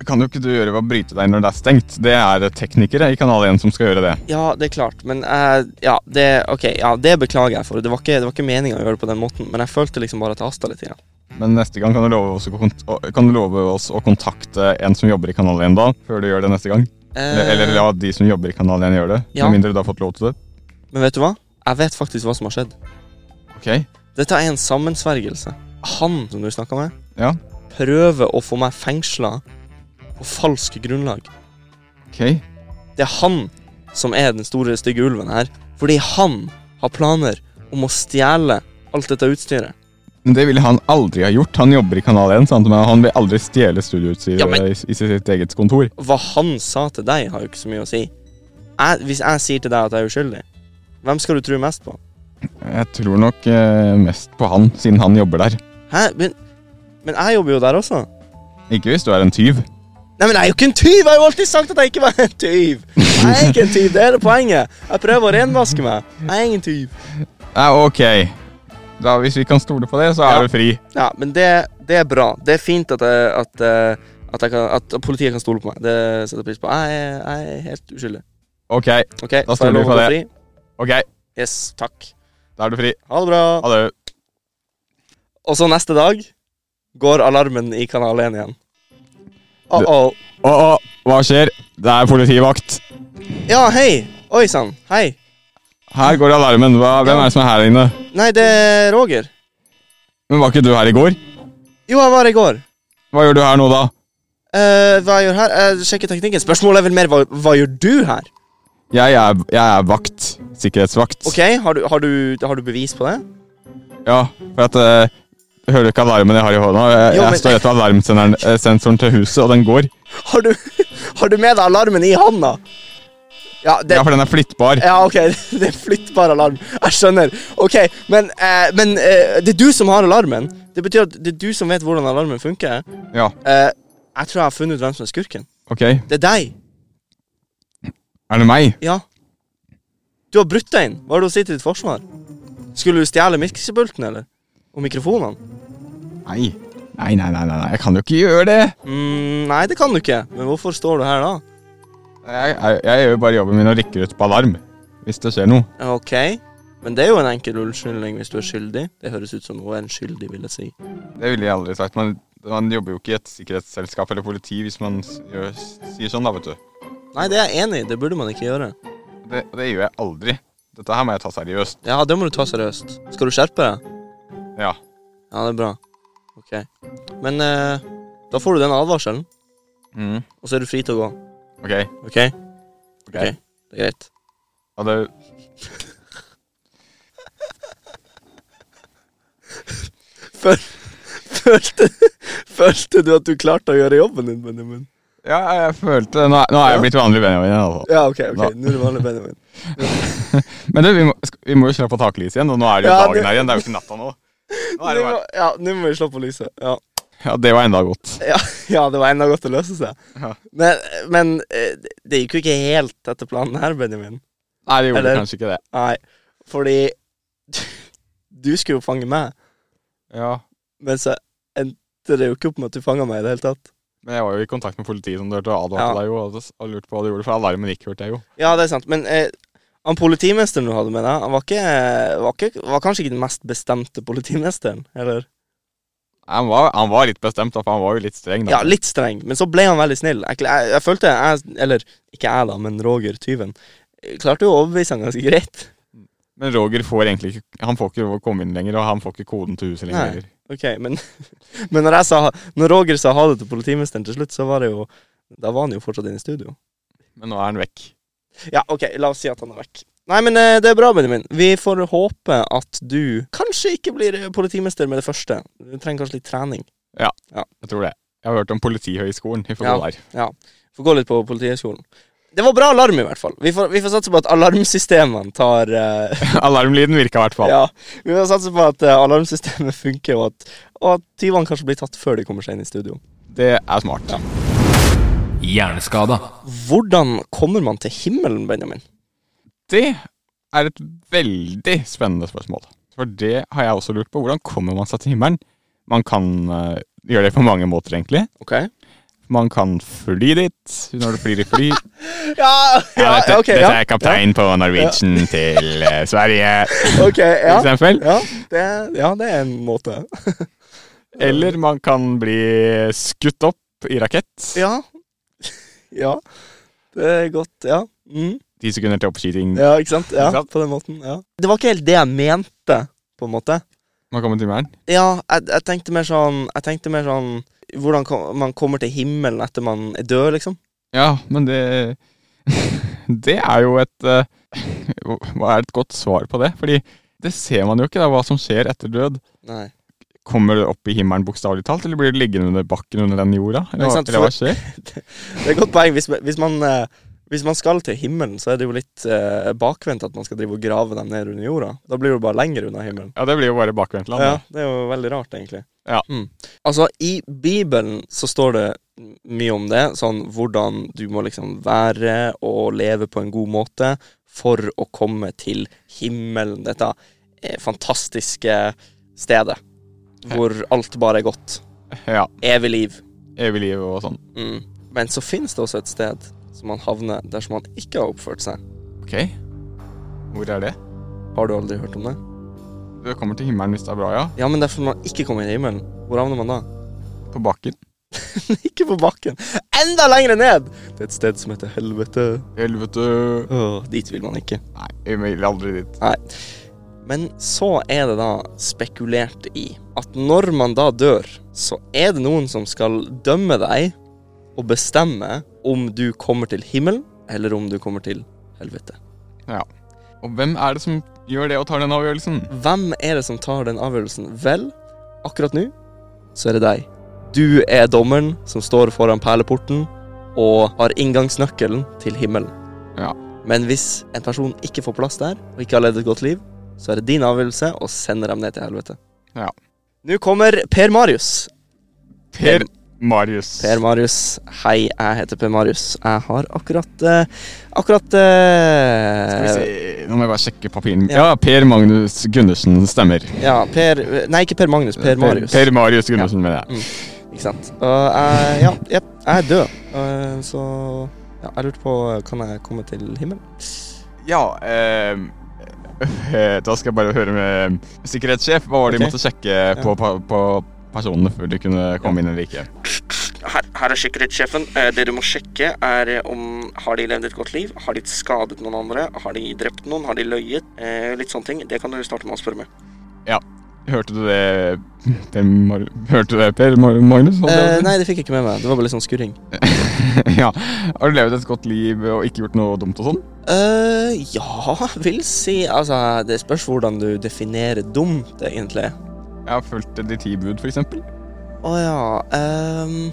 C: kan jo ikke du gjøre ved å bryte deg inn når det er stengt. Det er teknikere i Kanal 1 som skal gjøre det.
B: Ja, det er klart, men jeg ja, det, ok, ja, det beklager jeg for. Det var ikke, det var ikke meninga å gjøre det på den måten, men jeg følte liksom bare at jeg hasta litt. Igjen.
C: Men neste gang kan du, love oss å kont- å- kan du love oss å kontakte en som jobber i Kanal 1 da, før du gjør det neste gang? Eller, eller la de som jobber i Kanal 1 gjøre det,
B: Eh. Ja.
C: med mindre du har fått lov til det.
B: Eh, Men vet du hva? Jeg vet faktisk hva som har skjedd.
C: Ok.
B: Dette er en sammensvergelse. Han som du snakka med,
C: Ja.
B: prøver å få meg fengsla på falsk grunnlag.
C: Ok.
B: Det er han som er den store, stygge ulven her. Fordi han har planer om å stjele alt dette utstyret.
C: Men det ville han aldri ha gjort. Han jobber i Kanal 1, sant? men han vil aldri stjele studioutstyret
B: Ja, men-
C: i, i sitt eget kontor.
B: Hva han sa til deg, har jo ikke så mye å si. Jeg, hvis jeg sier til deg at jeg er uskyldig, hvem skal du tro mest på?
C: Jeg tror nok eh, mest på han, siden han jobber der.
B: Hæ? Men, men jeg jobber jo der også.
C: Ikke hvis du er en tyv.
B: Nei, men jeg er jo ikke en tyv! Jeg har jo alltid sagt at jeg ikke var en tyv! Jeg er ikke en tyv, det er det poenget. Jeg prøver å renvaske meg. Jeg er ingen tyv.
C: Ja, ok. Da, hvis vi kan stole på det, så er
B: Ja.
C: du fri.
B: Ja, men det, det er bra. Det er fint at, jeg, at, eh, at, jeg kan, at politiet kan stole på meg. Det setter jeg pris på. Jeg er, jeg er helt uskyldig.
C: Ok,
B: OK,
C: Da
B: får
C: stoler
B: jeg
C: vi
B: lov
C: på
B: å gå
C: det.
B: fri?
C: ok.
B: Yes, takk.
C: Da er du fri.
B: Ha det bra.
C: Ha det.
B: Og så neste dag går alarmen i Kanal 1 igjen. Uh-oh.
C: Å, å, hva skjer? Det er politivakt.
B: Ja, hei! Oi sann. Hei.
C: Her går alarmen. Hva, hvem er det som er her inne?
B: Nei, det er Roger.
C: Men var ikke du her i går?
B: Jo, jeg var her i går.
C: Hva gjør du her nå, da?
B: Eh, hva jeg gjør her? Jeg sjekker teknikken. Spørsmålet er vel mer hva, hva gjør du her?
C: Jeg er, jeg er vakt. Sikkerhetsvakt.
B: Ok, har du, har, du, har du bevis på det?
C: Ja, for at eh, Hører du ikke alarmen jeg har i hånda? Jeg,
B: Jo, men-
C: jeg står rett ved alarmsensoren eh, sensoren til huset, og den går.
B: Har du, [LAUGHS] har du med deg alarmen i handa? Ja, det,
C: Ja, for den er flyttbar.
B: ja, ok, [LAUGHS] det er flyttbar alarm. Jeg skjønner. Ok, Men, eh, men eh, det er du som har alarmen. Det betyr at det er du som vet hvordan alarmen funker.
C: Ja,
B: Eh, jeg tror jeg har funnet ut hvem som er skurken.
C: ok.
B: Det er deg.
C: Er det meg?
B: Ja. Du har brutt deg inn. Hva har du å si til ditt forsvar? Skulle du stjele miksepulten, eller? Og mikrofonene?
C: Nei. Nei, nei, nei, nei, nei, jeg kan jo ikke gjøre det.
B: Mm, nei, det kan du ikke. Men hvorfor står du her da?
C: Jeg, jeg, jeg gjør jo bare jobben min og rykker ut på alarm hvis det skjer noe.
B: Ja, Ok, men det er jo en enkel unnskyldning hvis du er skyldig. Det høres ut som noe en skyldig ville si.
C: Det ville jeg aldri sagt. Man, man jobber jo ikke i et sikkerhetsselskap eller politi hvis man s- gjør, sier sånn, da, vet du.
B: Nei, det er jeg enig i. Det burde man ikke gjøre.
C: Det, og det gjør jeg aldri. Dette her må jeg ta seriøst.
B: Ja, det må du ta seriøst. Skal du skjerpe deg?
C: Ja.
B: Ja, det er bra. Ok. Men eh, da får du den advarselen,
C: Mm.
B: og så er du fri til å gå.
C: Ok.
B: Ok? Ok. Det er greit. [LAUGHS]
C: Og det
B: Følte, følte du at du klarte å gjøre jobben din, Benjamin?
C: Ja, jeg følte Nå, er- nå er jeg blitt vanlig Benjamin. Altså.
B: Ja, ok. ok.
C: Ja.
B: Nå er det vanlig Benjamin.
C: Men du, vi må, sk- vi må jo slå på taklyset igjen, og nå er det jo
B: Ja, det-
C: dagen her igjen. Det er jo ikke natta nå. nå er det,
B: Nå
C: bare-
B: må- Ja, nå må vi slå på lyset. Ja.
C: ja, det var enda godt.
B: Ja, ja, det var enda godt å løse seg.
C: Ja.
B: Men, men eh, det gikk jo ikke helt etter planen her, Benjamin.
C: Nei, det gjorde
B: Eller-
C: kanskje ikke det.
B: Nei, fordi du skulle jo fange meg,
C: Ja,
B: men så endte det jo ikke opp med at du fanga meg i det hele tatt.
C: Men jeg var jo i kontakt med politiet, som du hørte, og advarte
B: Ja.
C: deg jo, og og lurte på hva du gjorde, for alarmen gikk, hørte jeg jo.
B: Ja, det er sant, men eh, han politimesteren du hadde med deg, han var, ikke, var, ikke, var kanskje ikke den mest bestemte politimesteren, eller?
C: Han var, han var litt bestemt, da, for han var jo litt streng. Da.
B: Ja, litt streng, men så ble han veldig snill. Jeg, jeg, jeg følte jeg, eller ikke jeg da, men Roger Tyven, eh, klarte jo å overbevise han ganske greit.
C: Men Roger får egentlig ikke Han får ikke lov å komme inn lenger, og han får ikke koden til huset
B: Nei.
C: lenger.
B: Ok, men, [LAUGHS] men når, jeg sa, når Roger sa ha det til politimesteren til slutt, så var det jo Da var han jo fortsatt inne i studio.
C: Men nå er han vekk.
B: Ja, ok, la oss si at han er vekk. Nei, men eh, det er bra, Benjamin. Vi får håpe at du kanskje ikke blir eh, politimester med det første. Du trenger kanskje litt trening.
C: Jeg tror det. Jeg har hørt om Politihøgskolen. Vi får
B: Ja.
C: gå der.
B: Får gå litt på Politihøgskolen. Det var bra alarm, i hvert fall. Vi får, vi får satse på at alarmsystemene tar eh,
C: [LAUGHS] Alarmlyden virka i hvert fall.
B: [LAUGHS] Ja, vi får satse på at eh, alarmsystemet funker, og at, og at tyvene kanskje blir tatt før de kommer seg inn i studio.
C: Det er smart.
A: Hjerneskada.
B: Hvordan kommer man til himmelen, Benjamin?
C: Det er et veldig spennende spørsmål. For det har jeg også lurt på. Hvordan kommer man seg til himmelen? Man kan eh, gjøre det på mange måter, egentlig.
B: Ok?
C: Man kan fly dit når du flyr i fly.
B: Ja,
C: Ja,
B: [LAUGHS] ja,
C: dette,
B: ok,
C: dette
B: ja.
C: er kaptein på Norwegian til eh, Sverige,
B: Ok,
C: for
B: ja.
C: eksempel.
B: Ja det, er- ja, det er en måte.
C: Eller man kan bli skutt opp i rakett.
B: Ja. [LAUGHS] Ja. Det er godt, ja. Mm.
C: Ti sekunder til oppskyting.
B: Ja, ikke sant? Ja,
C: Ikke sant?
B: På den måten, ja. Det var ikke helt det jeg mente, på en måte.
C: Man kommer til himmelen.
B: Ja, jeg, jeg tenkte mer sånn Jeg tenkte mer sånn hvordan kom, man kommer til himmelen etter man er død, liksom.
C: Ja, men det [LAUGHS] Det er jo et eh, [LAUGHS] Hva er et godt svar på det? Fordi det ser man jo ikke, da, hva som skjer etter død.
B: Nei.
C: Kommer du opp i himmelen bokstavelig talt, eller blir du liggende under bakken under den jorda?
B: Ikke
C: Eller, hva-
B: sant,
C: eller hva skjer?
B: Det er et godt poeng. Hvis, hvis, man, eh, hvis man skal til himmelen, så er det jo litt eh, bakvendt at man skal drive og grave dem ned under jorda. Da blir du bare lenger unna himmelen.
C: Ja, det blir jo bare bakvendtland.
B: Ja,
C: Ja.
B: det er jo veldig rart, egentlig.
C: Ja.
B: Mm. Altså, i Bibelen så står det mye om det, sånn hvordan du må liksom være og leve på en god måte for å komme til himmelen, dette eh, fantastiske stedet hvor alt bare er godt.
C: ja.
B: Evig liv.
C: Evig liv og sånn.
B: Mm. Men så finnes det også et sted som man havner dersom man ikke har oppført seg.
C: Ok. Hvor er det?
B: Har du aldri hørt om det?
C: Du kommer til himmelen hvis det er bra, ja.
B: Ja, men derfor man ikke kommer inn i himmelen, hvor havner man da?
C: På bakken.
B: Ikke på bakken. Enda lenger ned! Det er et sted som heter helvete.
C: Helvete.
B: Åh, dit vil man ikke.
C: Nei, jeg vil aldri dit.
B: Nei. Men så er det da spekulert i at når man da dør, så er det noen som skal dømme deg og bestemme om du kommer til himmelen, eller om du kommer til helvete.
C: Og hvem er det som gjør det og tar den avgjørelsen?
B: Hvem er det som tar den avgjørelsen? Vel, akkurat nå så er det deg. Du er dommeren som står foran perleporten og har inngangsnøkkelen til himmelen.
C: Ja.
B: Men hvis en person ikke får plass der, og ikke har levd et godt liv, så er det din avgjørelse å sende dem ned til helvete.
C: Ja.
B: Nå kommer Per Marius.
C: Per Marius.
B: Per Marius, hei, jeg heter Per Marius. Jeg har akkurat eh, Akkurat eh,
C: Skal vi se Nå må jeg bare sjekke papirene.
B: Ja.
C: Ja, Per Magnus Gundersen stemmer.
B: Ja, Per Nei, ikke Per Magnus. Per Marius.
C: Per, Marius Gundersen, mener jeg.
B: Ikke sant. Og jeg, ja, jep, jeg er død. Eh, så ja, jeg lurte på Kan jeg komme til himmelen?
C: Ja, ehm, eh, [LAUGHS] da skal jeg bare høre med sikkerhetssjef. Hva var
B: Ok.
C: det de måtte sjekke på, pa- på personene før de kunne komme inn eller ikke?
B: Her, her er sikkerhetssjefen. Eh, Det du må sjekke, er eh, om har de levd et godt liv? Har de skadet noen andre? Har de drept noen? Har de løyet? Eh, Litt sånne ting. Det kan du starte med å spørre med.
C: Hørte du det, Per Mar- Hørte du det, Per Mar- Magnus? Holdt jeg på å si.
B: Eh, nei, det fikk jeg ikke med meg. Det var bare litt sånn skurring.
C: [LAUGHS] ja. Har du levd et godt liv og ikke gjort noe dumt og sånn?
B: eh ja, [LAUGHS] vil si Altså, det spørs hvordan du definerer dumt, egentlig.
C: Jeg har fulgt de ti bud, for eksempel.
B: Å ja ehm,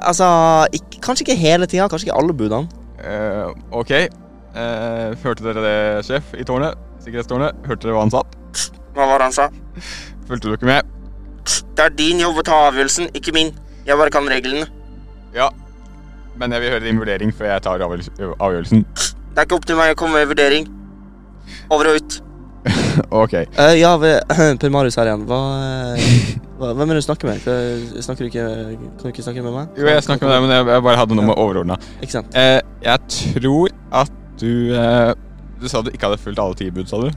B: Altså, ikk- kanskje ikke hele tida, kanskje ikke alle budene.
C: Eh, ok. Eh, hørte dere det, sjef, i tårnet? Sikkerhetstårnet? Hørte dere hva han sa?
B: Hva var det han sa?
C: Fulgte du ikke med?
B: Det er din jobb å ta avgjørelsen, ikke min. Jeg bare kan reglene.
C: Ja. Men jeg vil høre din vurdering før jeg tar avgjørel- avgjørelsen. [LAUGHS]
B: Det er ikke opp til meg å komme med vurdering. Over og ut.
C: Ok.
B: Eh, ja, ved, [CLEARS THROAT] Per Marius her igjen. Hva, eh, hva, hvem er det du snakker med? Hva- Snakker du ikke, kan du ikke snakke med meg?
C: Jo, jeg snakker med deg, men jeg- jeg bare hadde noe med overordna.
B: Ikke sant?
C: Eh, jeg tror at du eh, Du sa du ikke hadde fulgt alle ti bud, sa du?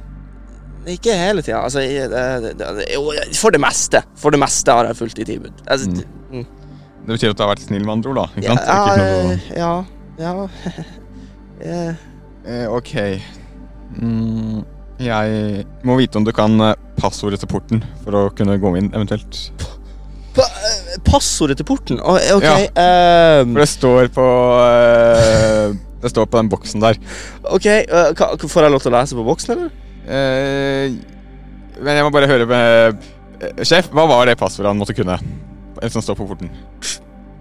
B: Ikke hele tida. Altså, jeg- det- det- det- jo, for det meste. For det meste har jeg fulgt i tilbud. Altså,
C: Mm.
B: det- mm.
C: Det betyr at du har vært snill, med andre ord, da? Ikke
B: Ja,
C: sant? Ikke noe-
B: ja,
C: [LAUGHS]
B: ja, Eh,
C: Eh, ok. Mm, jeg må vite om du kan eh, passordet til porten for å kunne gå inn, eventuelt.
B: pa- eh, Passordet til porten? Å, eh, Ok.
C: Ja.
B: ehm,
C: For det står på eh, Det står på den boksen der.
B: ok, eh, hva- Får jeg lov til å lese på boksen, eller?
C: Eh, men jeg må bare høre med eh, Sjef, hva var det passordet han måtte kunne? Eh, Som står på porten.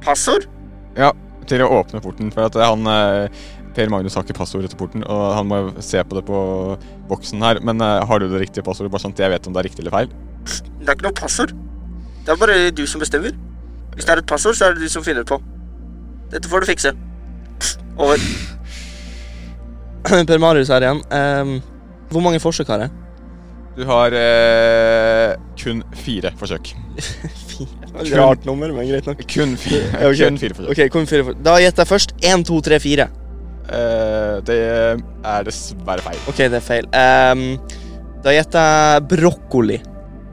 B: Passord?
C: Ja, til å åpne porten. For at han eh, Per Magnus har ikke passordet til porten, og han må se på det på boksen her. Men eh, har du det riktige passordet, bare sånn at jeg vet om det er riktig eller feil?
B: Det er ikke noe passord. Det er bare du som bestemmer. Hvis det er et passord, så er det du som finner på. Dette får du fikse. Over. [CLEARS THROAT] per Marius her igjen. Ehm, hvor mange forsøk har jeg?
C: Du har eh, kun fire forsøk.
B: Fire. Rart nummer, men greit nok.
C: Kun fire,
B: [LAUGHS] Ja, ok.
C: kun fire forsøk.
B: Ok, kom fire for. Da gjetter jeg først 1, 2, 3, 4.
C: Eh, det er dessverre feil.
B: Ok, det er feil. Ehm, da gjetter jeg brokkoli.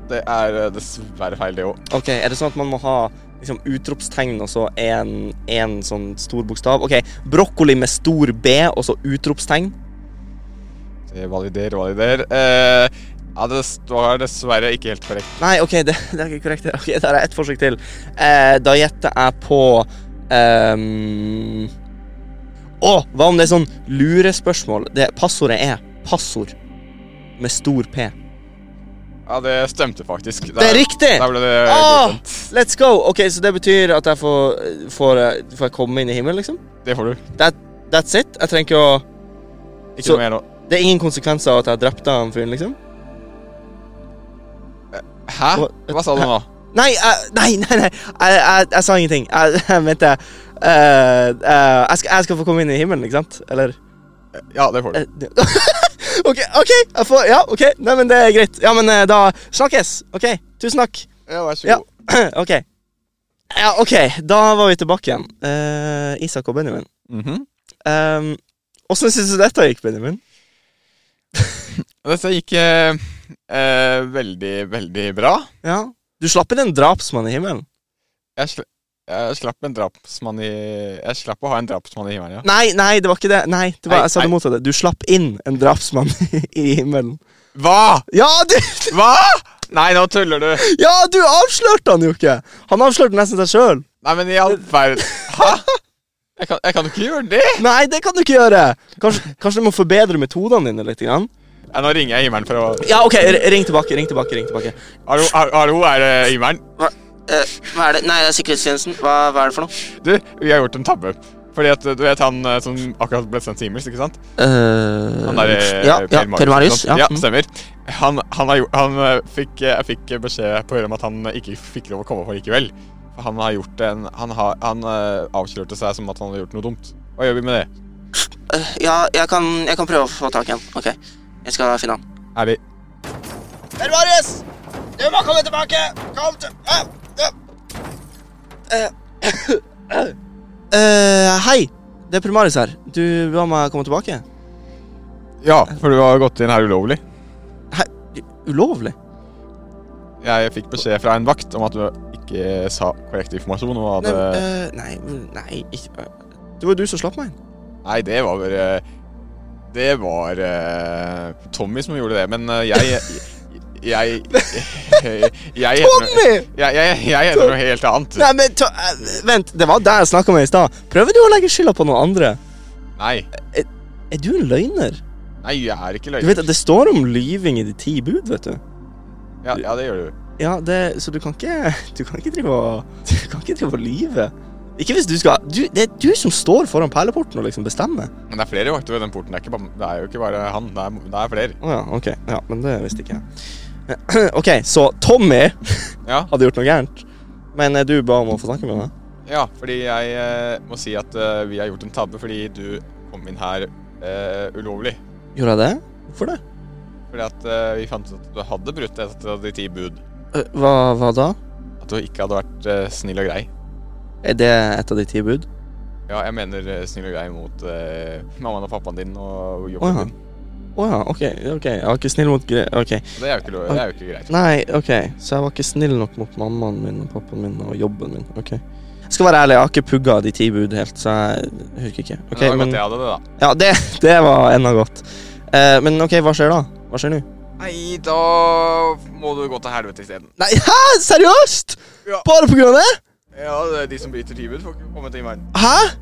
C: Det er eh, dessverre feil, det òg.
B: Ok, Er det sånn at man må ha liksom, utropstegn og så en, en sånn stor bokstav? Ok, Brokkoli med stor B og så utropstegn.
C: Eh, Valider, valider. Eh, ja, det var dessverre ikke helt korrekt.
B: Nei, ok, det, [LAUGHS] det er ikke korrekt. det. Ok, Der er ett forsøk til. Eh, da gjetter jeg på ehm, Å, hva om det er sånn lurespørsmål? Det Passordet er passord med stor P.
C: Ja, det stemte faktisk.
B: Det er riktig!
C: Der ble det
B: Åh!
C: godkjent.
B: Let's go! Ok, Så det betyr at jeg får, får, jeg- får jeg komme inn i himmelen, liksom?
C: Det får du.
B: That's it? Jeg trenger ikke å
C: Ikke
B: Så-
C: noe mer nå.
B: Det er ingen konsekvenser av at jeg drepte han fyren, liksom?
C: Hæ? Hva sa du nå?
B: Nei, jeg- nei, nei, nei. Jeg, jeg, jeg sa ingenting. Jeg, jeg mente eh, eh, jeg, skal, jeg skal få komme inn i himmelen, ikke sant? Eller
C: Ja, det får du.
B: eh, [LAUGHS] det- OK, ok, jeg får, ja, ok, nei, men det er greit. Ja, men eh, da snakkes. Ok, tusen takk. [CLEARS THROAT]
C: Ja, vær så
B: Ja.
C: god.
B: ok. Ja, ok, da var vi tilbake igjen. Eh, Isak og Benjamin.
C: Mhm.
B: Um, Åssen syns du dette gikk, Benjamin?
C: Dette gikk eh, eh, veldig, veldig bra.
B: Ja. Du slapp inn en drapsmann i himmelen?
C: Jeg, sl jeg slapp en drapsmann i Jeg slapp å ha en drapsmann i himmelen, ja.
B: Nei, nei, det var ikke det. Nei, det var,
C: Nei,
B: jeg sa det
C: nei.
B: motsatte. Du slapp inn en drapsmann [LAUGHS] i himmelen.
C: Hva?!
B: Ja, du,
C: Hva?! Nei, nå tuller du.
B: ja, du avslørte han jo ikke! Han avslørte nesten seg sjøl.
C: Nei, men i all verden Hæ? Jeg kan, jeg kan jo ikke gjøre det!
B: Nei, det kan du ikke gjøre! Kanskje, kanskje du må forbedre metodene dine litt? Grann.
C: Nei, nå ringer jeg himmelen for å
B: Ja, ok, r- ring tilbake. ring tilbake, ring tilbake. eh,
C: Hallo, ha- hallo er det himmelen?
B: hva er det? Nei, det er sikkerhetstjenesten. Hva, er det for noe?
C: Du, vi har gjort en tabbe. Fordi at du vet han eh, som akkurat ble sendt til himmels, ikke sant? Han der eh,
B: ja, ja, Per Marius.
C: ikke sant?
B: Ja.
C: ja, Mm. stemmer. Han, han, har, gjort- han eh, fikk, eh, jeg fikk beskjed på høret om at han eh, ikke fikk lov å komme på likevel. For Han har gjort en Han, har, han eh, avslørte seg som at han hadde gjort noe dumt. Hva gjør vi med det?
B: ja jeg kan, prøve å få tak i han. Ok, jeg skal finne han.
C: Er det
B: Per Marius! Du må komme tilbake! Kom til... Eh, hei, det er Per Marius her. Du ba meg komme tilbake.
C: Ja, for du har gått inn her ulovlig.
B: Ulovlig?
C: Jeg fikk beskjed fra en vakt om at du ikke ikke sa korrekt informasjon. Og
B: Nei,
C: hadde...
B: eh, nei, nei ikke. Det var jo du som slapp meg.
C: Nei, det var bare Det var eh, Tommy som gjorde det, men eh, jeg Jeg Jeg, jeg, heter, noe,
B: Tommy!
C: jeg, jeg, jeg heter noe helt annet.
B: Nei, men ta, eh, Vent, det var der jeg snakka med i stad. Prøver du å legge skylda på noen andre?
C: Nei,
B: Er du en løgner?
C: nei jeg er ikke
B: Du vet
C: løgner.
B: at Det står om lyving i de ti bud, vet du.
C: Ja, ja, det gjør du.
B: Ja, det, Så du kan ikke Du kan ikke drive og [LAUGHS] Du kan ikke drive og lyve. Ikke hvis du skal du, Det er du som står foran perleporten og liksom bestemmer.
C: Men det er flere vakter ved den porten. Det er, ikke, bare- det er jo ikke bare han. Det er, det er flere.
B: Å ja, OK. Ja, Men det visste ikke jeg. [CLEARS THROAT] Eh, OK, så Tommy
C: Ja,
B: hadde gjort noe gærent, men eh, du ba om å få snakke med meg?
C: ja fordi jeg eh, må si at eh, vi har gjort en tabbe fordi du kom inn her eh, ulovlig.
B: Gjorde jeg det? Hvorfor det?
C: Fordi at eh, vi fant ut at du hadde brutt et av de ti bud.
B: Eh, Hva, hva da?
C: At du ikke hadde vært eh, snill og grei.
B: Er det et av de ti bud?
C: Ja, jeg mener eh, snill og grei mot eh, mammaen og pappaen din og
B: Å
C: jobben
B: ja.
C: din.
B: Å ja, OK. ok Jeg var ikke snill mot gre... OK.
C: Så det er jo ikke, lov, det er jo ikke greit.
B: Nei, OK. Så jeg var ikke snill nok mot mammaen min og pappaen min og jobben min. OK. Jeg skal være ærlig, jeg har ikke pugga de ti bud helt, så jeg husker ikke.
C: Men
B: Ok,
C: det var
B: men
C: godt jeg hadde det, da.
B: Ja, det, det var enda godt. Eh, men OK, hva skjer da? Hva skjer nå?
C: Nei, da må du gå til helvete isteden.
B: Nei, hæ? Seriøst?
C: Ja.
B: Bare på grunn av det?
C: Ja, det er de som bryter tilbud, får ikke komme til himmelen.
B: Hæ?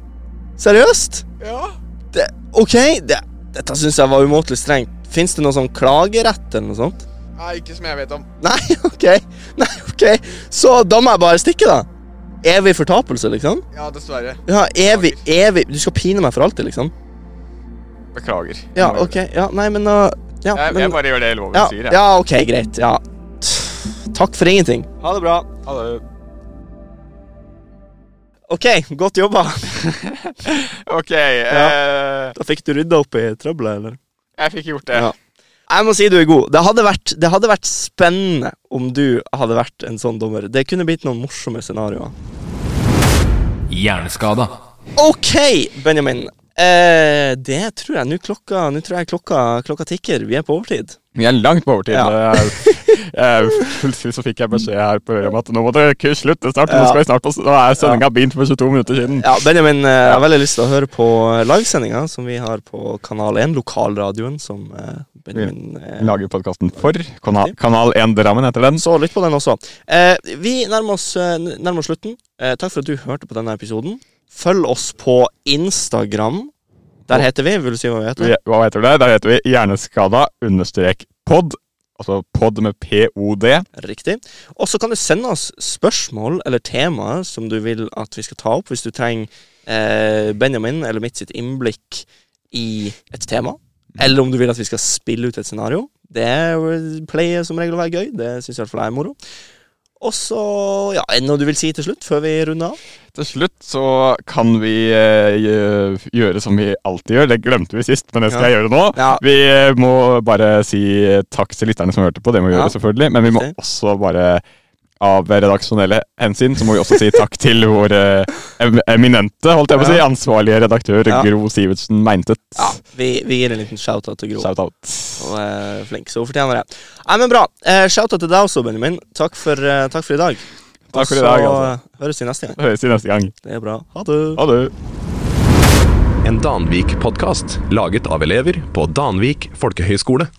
B: Seriøst?
C: Ja.
B: Det, OK, det, dette syns jeg var umåtelig strengt. Fins det noe sånn klagerett eller noe sånt? [LAUGHS]
C: Nei, ikke som jeg vet om.
B: Nei, OK. Nei, ok Så da må jeg bare stikke, da. Evig fortapelse, liksom?
C: Ja, dessverre.
B: Ja, evig, evig Du skal pine meg for alltid, liksom?
C: Beklager.
B: Ja,
C: Jeg-
B: OK. Ja, nei, men uh, ja,
C: Jeg,
B: men,
C: jeg bare gjør det loven
B: ja,
C: sier, jeg.
B: ja, OK, greit. Ja. Takk for ingenting. Ha det bra.
C: Ha det.
B: OK, godt jobba.
C: OK. eh,
B: [LAUGHS] Da fikk du rydda opp i trøbbelet, eller?
C: jeg fikk gjort det.
B: Ja. Jeg må si du er god. Det hadde, vært, det hadde vært spennende om du hadde vært en sånn dommer. Det kunne blitt noen morsomme scenarioer.
A: Hjerneskada.
B: Ok, Benjamin. Eh, det tror jeg nå klokka Nå tror jeg klokka, klokka tikker. Vi er på overtid.
C: Vi er langt på overtid.
B: Ja.
C: Jeg- jeg- Plutselig så fikk jeg beskjed her på øret om at nå må dere ikke slutte snart. for
B: Ja.
C: Nå, skal vi snart på, nå er sendinga begynt for 22 minutter siden.
B: Ja, Benjamin, eh, jeg har veldig lyst til å høre på livesendinga som vi har på Kanal 1, lokalradioen som eh, Benjamin eh,
C: lager podkasten for. Kanal, kanal 1 Drammen heter den.
B: Så lytt på den også. Eh, vi nærmer oss, eh, n- nærmer oss slutten. Eh, takk for at du hørte på denne episoden. Følg oss på Instagram. Der heter vi. Vil du si hva vi heter?
C: Vi- Hva heter det? Der heter vi Hjerneskada understrek pod. Altså pod med POD.
B: Riktig. Og så kan du sende oss spørsmål eller temaer som du vil at vi skal ta opp, hvis du trenger eh, Benjamin eller mitt sitt innblikk i et tema.
C: Mm.
B: Eller om du vil at vi skal spille ut et scenario. Det er jo- pleier som regel å være gøy. Det syns i hvert fall jeg er moro. Og så, ja, er det noe du vil si til slutt, før vi runder av?
C: Til slutt så kan vi eh, gjø- gjøre som vi alltid gjør. Det glemte vi sist, men det skal
B: Ja.
C: jeg gjøre nå.
B: Ja.
C: Vi eh, må bare si eh, takk til lytterne som hørte på. Det må vi
B: Ja.
C: gjøre, selvfølgelig. Men vi må
B: Riktig.
C: også bare av redaksjonelle hensyn så må vi også si takk til vår eh, em- eminente, holdt jeg på å si,
B: Ja.
C: ansvarlige redaktør
B: Ja.
C: Gro Sivertsen Meintet.
B: Ja, vi, vi gir en liten shout-out til Gro.
C: Shout out.
B: Hun er flink, så hun fortjener det. Nei, men bra. Eh, shout-out til deg også, Benjamin. Takk for, eh, takk for i dag.
C: Takk for i
B: Og så
C: dag, altså.
B: høres vi neste gang.
C: Høres i neste gang.
B: Det er bra. Ha det.
C: Ha det.
D: En Danvik-podkast laget av elever på Danvik folkehøgskole.